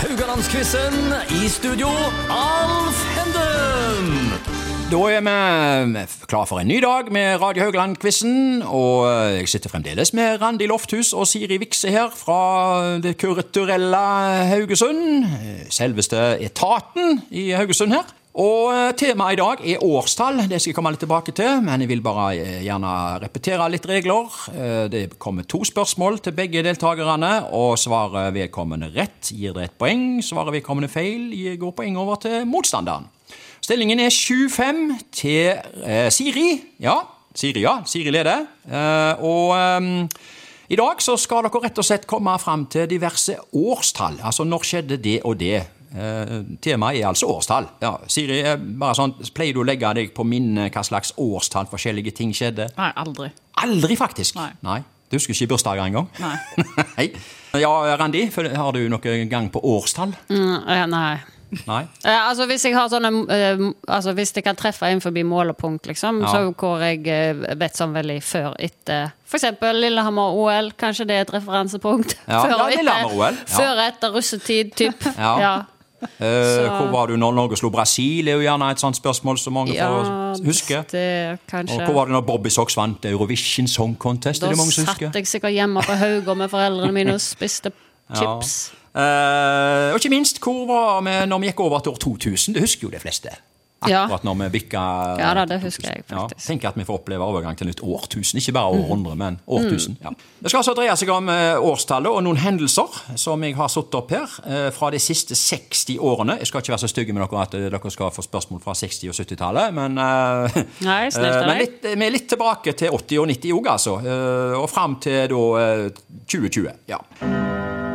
Haugalandsquizen i studio, Alf Henden! Da er vi klar for en ny dag med Radio Haugland-quizen. Og jeg sitter fremdeles med Randi Lofthus og Siri Vikse her fra det kulturelle Haugesund. Selveste etaten i Haugesund her. Og temaet i dag er årstall. Det skal jeg komme litt tilbake til. Men jeg vil bare eh, gjerne repetere litt regler. Eh, Det kommer to spørsmål til begge deltakerne. Og svarer vedkommende rett, gir det et poeng. Svarer vedkommende feil, går poeng over til motstanderen. Stillingen er 7-5 til eh, Siri. Ja, Siri ja, Siri leder. Eh, og ehm, i dag så skal dere rett og slett komme fram til diverse årstall. Altså når skjedde det og det. Eh, temaet er altså årstall. Ja, Siri, eh, bare sånn, pleier du å legge deg på minne hva slags årstall forskjellige ting skjedde? Nei, aldri. Aldri, faktisk. Nei. Du husker ikke bursdager engang? Nei. Nei. Ja, Randi, føl- har du noen gang på årstall? Eh, Nei. Nei? Eh, altså hvis jeg har sånne eh, altså hvis jeg kan treffe innenfor mål og punkt, liksom, Ja. så hvor jeg eh, vet sånn veldig før etter f.eks. Lillehammer-OL, kanskje det er et referansepunkt? Ja. før, Ja, og Lillehammer-OL, etter, ja. før og etter russetid, typ. Ja. Eh, hvor var du når Norge slo Brasil, er jo gjerne et sånt spørsmål som mange Ja, får huske. det kanskje. Og hvor var du når Bobby Socks vant Eurovision Song Contest? Da er det mange som satt husker? jeg sikkert hjemme på Haugård med foreldrene mine og spiste chips. Eh, og ikke minst, hvor var vi når vi gikk over til år 2000? Det husker jo de fleste. Ja. Akkurat når vi bikka Ja da, det husker jeg 2000. faktisk. Mm. tenk at vi får oppleve overgang til nytt årtusen. Ikke bare århundre, men årtusen. Ja. Det skal altså dreie seg om eh, årstallet og noen hendelser som jeg har satt opp her eh, fra de siste 60 årene. Jeg skal ikke være så stygge med dere at eh, dere skal få spørsmål fra 60- og 70-tallet, men eh, Nei, snilt av eh, men deg. litt, vi er litt tilbake til 80- og 90 òg, altså. eh, Og fram til da eh, 2020. Ja.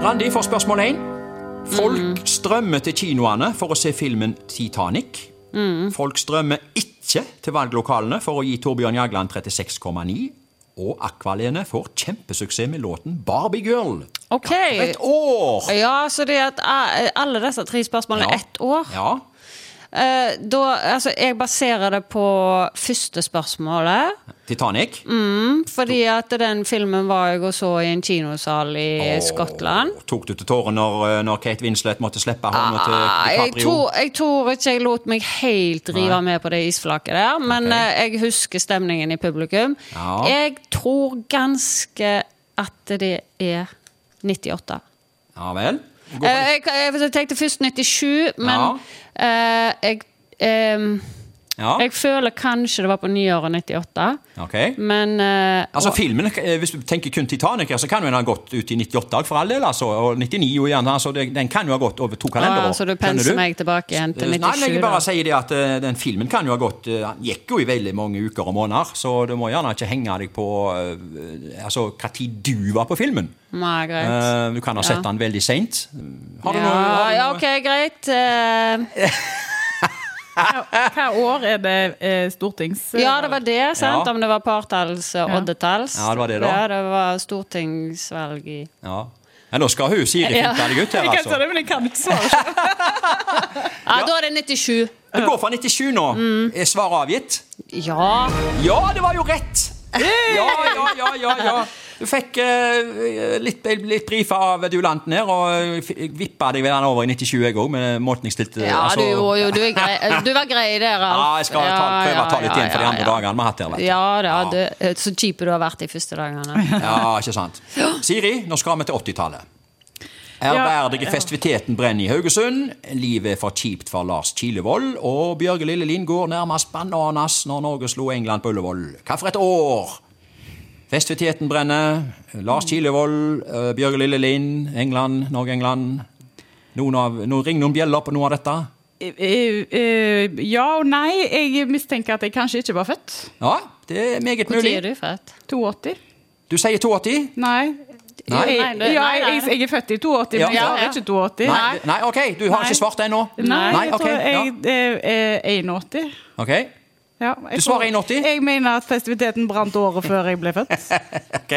Randi får spørsmål 1. Mm. Folk strømmer til kinoene for å se filmen Titanic. Mm. Folk strømmer ikke til valglokalene for å gi Torbjørn Jagland 36,9. Og Akvalene får kjempesuksess med låten Barbie Girl. Ok. Et år! Ja, så det at eh, alle disse tre spørsmålene er ett år. Ja. Eh, da, altså, jeg baserer det på første spørsmålet. Titanic. Mm. Fordi at den filmen var jeg og så i en kinosal i Og Skottland. Tok du til tårer når, eh, når Kate Winslet måtte slippe hånda til Ah, jeg, DiCaprio? tror, jeg tror ikke jeg lot meg helt rive Nei. med på det isflaket der, men Ok. eh, jeg husker stemningen i publikum. Ja. Jeg tror ganske at det er 98. Ja vel. Gå for Eh, jeg, jeg, jeg tenkte først 97, men Ja. eh, jeg ehm, Ja. Jeg føler kanskje det var på nyåret 98, Ok. men eh, Altså filmen, eh, Hvis du tenker kun Titanic, her, så kan jo den ha gått ut i 98 dag for all del. altså, Og 99 jo igjen. altså, det- Den kan jo ha gått over to kalenderår. Ah, så du skjønner penser meg tilbake igjen til Eh, Nei, men 97, jeg bare da. sier det at eh, den filmen kan jo ha gått eh, Han gikk jo i veldig mange uker og måneder, så du må gjerne ikke henge deg på eh, altså, hva tid du var på filmen. Nei, greit. Eh, Du kan ha sett Ja. den veldig seint. Har du ja, noe har du ja, noe- OK, greit. Eh, Hva år er det eh, stortings... ja, det var det, sant? Ja. Om det var partalls og oddetalls. Ja, det var det da. Ja, det var stortingsvalg i Ja. Ja, nå skal hun Siri Ja. finte deg ut her, Jeg kan ta altså. det, men jeg kan ikke svare. Ja, da er det 97. Det går fra 97 nå. Mm. Er svaret avgitt? Ja. Ja, det var jo rett! Ja, ja, ja, ja, ja. Du fikk eh, litt, litt brifa av duellanten her, og jeg vippa deg vel den over i 97 jeg òg, med måten jeg stilte Ja, du altså- gjorde jo Du, er grei. du var grei der, Alf. Ja, jeg skal ta, prøve å ta litt igjen for de andre ja, ja. dagene vi har hatt her. vet du. Ja da, du, eh, så kjip du har vært de første dagene. Ja, ikke sant. Siri, nå skal vi til 80-tallet. Ærverdige festiviteten brenner i Haugesund. Livet er for kjipt for Lars Kilevold. Og Bjørge Lillelien går nærmest bananas når Norge slo England på Ullevål. Hva for et år! Festiviteten brenner. Lars Kilevold, eh, Bjørge Lillelien, England, Norge-England. Noen av, nå ring noen bjeller på noe av dette. Eh, eh, Ja og nei. Jeg mistenker at jeg kanskje ikke var født. Ja, det er meget Når mulig. er du født? 82. Du sier 82? Nei. Nei. Jeg, Nei, det- ja, nei, nei. jeg, jeg er født i 82, Ja. men jeg Ja, var ja. ikke 82. Nei, nei, OK, du har Nei. ikke svart ennå? Nei, jeg ok, tror ja. jeg eh, er 81. Ok. Ja, jeg Du svarer tror- 81? Jeg mener at festiviteten brant året før jeg ble født. Ok.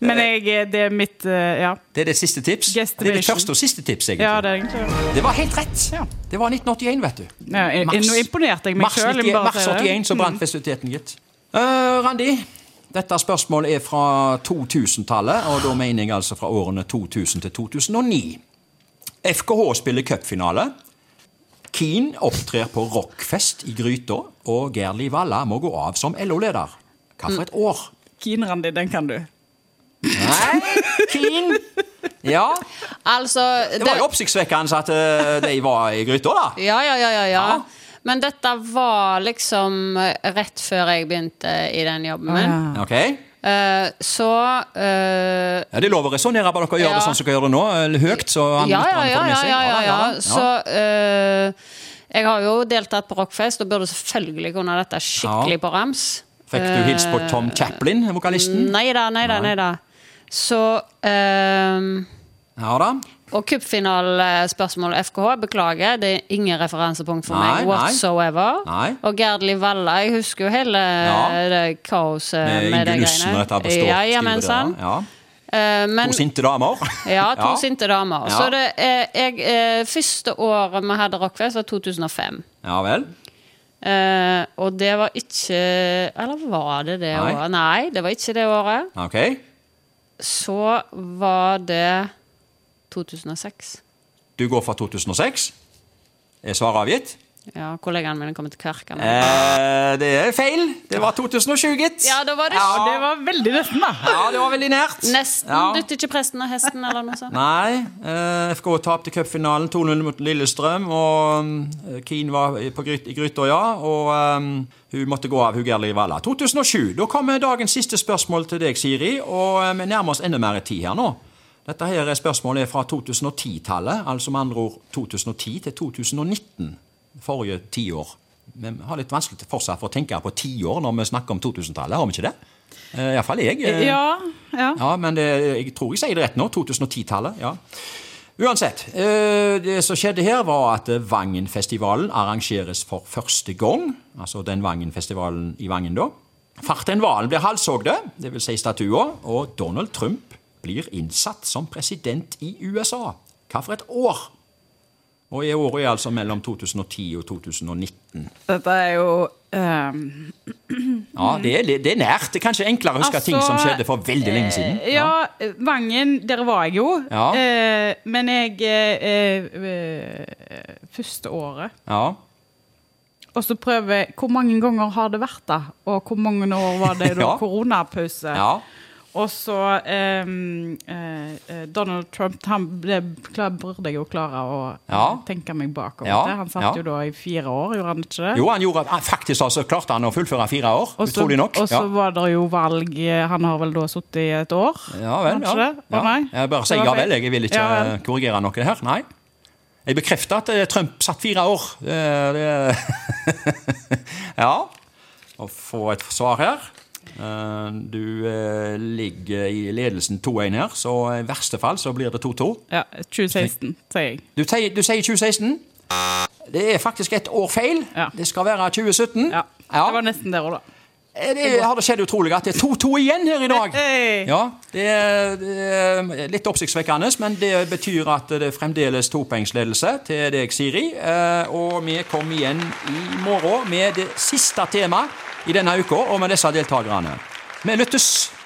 Men jeg, det er mitt eh, Ja, Det er det siste tips. Det er Guesstimation. det første og siste tips, egentlig. ja det er egentlig det. Det var helt rett! Ja. Det var 1981, vet du. Ja, jeg- Mars. Nå imponerte jeg meg Mars, sjøl. 91, mars 81 Mm. så brant festiviteten, gitt. Eh, Randi, dette spørsmålet er fra 2000-tallet, og da mener jeg altså fra årene 2000 til 2009. FKH spiller cupfinale. Keane opptrer på rockfest i Gryta, og Gerli Valla må gå av som LO-leder. Hva for et år? Keen-Randi, den kan du. Mm. Nei, Keane Ja, Altså det var jo oppsiktsvekkende at eh, de var i Gryta, da. Ja, ja, ja, ja, Ja. ja. Men dette var liksom rett før jeg begynte i den jobben min. Ja. Ok? Eh, så eh, Ja, det er lov å resonnere, bare dere gjør Ja. det sånn som dere gjør det nå. eller Høyt, så ja, han ja, han ja, får med ja, seg. ja, ja, ja. Så eh, jeg har jo deltatt på rockfest og burde selvfølgelig kunne dette skikkelig på rams. Eh, Fikk du hilst på Tom Chaplin, vokalisten? Nei da, nei da, nei da. Så eh, Ja da. Og cupfinalespørsmål FKH, beklager, det er ingen referansepunkt for Nei, nei. meg whatsoever. Nei. Og Gerd Liv Valla, jeg husker jo hele Ja. det kaoset Med Eh, med, Inge de Nussen og greiene. dette på stå- ja, ja, men styret sant. der. Ja. Eh, men, To sinte damer. Ja, to sinte damer. Ja. Så det er, jeg, eh, første året vi hadde rockfest, var 2005. Ja vel. Eh, og det var ikke Eller var det det Nei. året? Nei, det var ikke det året. Ok. Så var det 2006. Du går fra 2006. Er svaret avgitt? Ja, kollegaene mine kommer til å kverke meg. Eh, det er feil. Det var 2007, gitt. Ja, da var det Ja, Det var veldig nesten, da. Ja, det var veldig nært. Nesten Ja. dytter ikke presten og hesten, eller noe sånt. Nei. eh, FK tapte cupfinalen 2-0 mot Lillestrøm. Og eh, Keane var i- på gryt, i gryta, ja. Og eh, hun måtte gå av, hun Gerli Valla. 2007. Da kommer dagens siste spørsmål til deg, Siri. Og eh, vi nærmer oss enda mer i tid her nå. Dette her er spørsmålet er fra 2010-tallet, altså med andre ord 2010 til 2019. Forrige tiår. Vi har litt vanskelig til fortsatt for å tenke på tiår når vi snakker om 2000-tallet, har vi ikke det? Eh, i hvert fall jeg. eh, Ja, ja. ja, men det, jeg tror jeg sier det rett nå. 2010-tallet. ja. Uansett. eh, Det som skjedde her, var at eh, Vangenfestivalen arrangeres for første gang. Altså den Vangenfestivalen i Vangen, da. Farten Valen blir halshogde, dvs. Si statua, og Donald Trump blir innsatt som president i USA. Hva for et år! Og i året er altså mellom 2010 og 2019. Dette er jo ehm, Ja, Det er, det er nært. Det er kanskje enklere å huske ting som Mm. Altså, eh, skjedde for veldig lenge siden. Ja, Vangen, der var jeg jo. Ja. Eh, men jeg eh, eh, eh, Første året. ja. Og så prøve Hvor mange ganger har det vært, da? Og hvor mange år var det da Ja. koronapause? ja. Og så eh, eh, eh, Donald Trump Han ble, klar, burde jeg jo klare å Ja. eh, tenke meg bakover Ja, til. Han satt ja. jo da i fire år, gjorde han ikke det? Jo, han gjorde, han- faktisk altså, klarte han å fullføre fire år. Og så- utrolig nok. Og så ja. var det jo valg eh, Han har vel da sittet i et år? Ja vel, kanskje ja. det? Å, ja. nei. Jeg bare Det sier var ja feil. vel, jeg vil ikke Ja eh, vel. korrigere noe her. Nei. Jeg bekrefter at eh, Trump satt fire år. Eh, det... ja. Å få et svar her. Eh, Du eh, ligger i ledelsen 2-1 her, så i verste fall så blir det 2-2. Ja, 2016, sier jeg. Du, sier- du sier 2016. Det er faktisk et år feil. Ja. Det skal være 2017. Ja. Ja. Det var nesten der òg, da. Eh, Det har det skjedd utrolig at det er 2-2 igjen her i dag. Hey. Ja, det er, det er litt oppsiktsvekkende, men det betyr at det er fremdeles topoengsledelse til deg, Siri. Eh, Og vi kommer igjen i morgen med det siste temaet i denne uka, og med disse deltakerne. Vi lyttes!